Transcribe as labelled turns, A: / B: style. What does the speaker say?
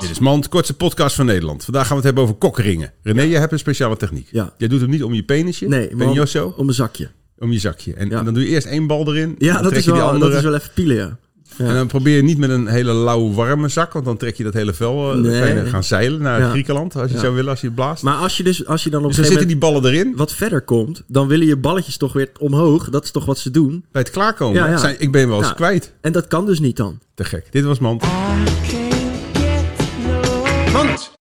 A: Dit is Mand, kortste podcast van Nederland. Vandaag gaan we het hebben over kokringen. René, jij hebt een speciale techniek.
B: Ja.
A: Jij doet hem niet om je penisje,
B: Nee, maar
A: ben
B: om,
A: je zo,
B: om een zakje.
A: om je zakje. En,
B: Ja.
A: en dan doe je eerst één bal erin,
B: Ja,
A: dan
B: dat
A: trek
B: is,
A: je die
B: wel,
A: andere.
B: dat is wel even pielen, ja. ja.
A: En dan probeer je niet met een hele lauwe warme zak, want dan trek je dat hele vel. eh, dan
B: Nee.
A: kan je gaan zeilen naar
B: Ja.
A: Griekenland, als je
B: Ja.
A: zou willen, als je het blaast.
B: Maar als je, dus, als je dan op een
A: dus dan
B: gegeven
A: zitten
B: moment
A: die ballen erin,
B: wat verder komt, dan willen je balletjes toch weer omhoog. Dat is toch wat ze doen.
A: bij het klaarkomen.
B: Ja, ja.
A: Zijn, ik ben wel eens
B: Ja.
A: kwijt.
B: En dat kan dus niet dan.
A: Te gek. Dit was Mand.
C: I can't get no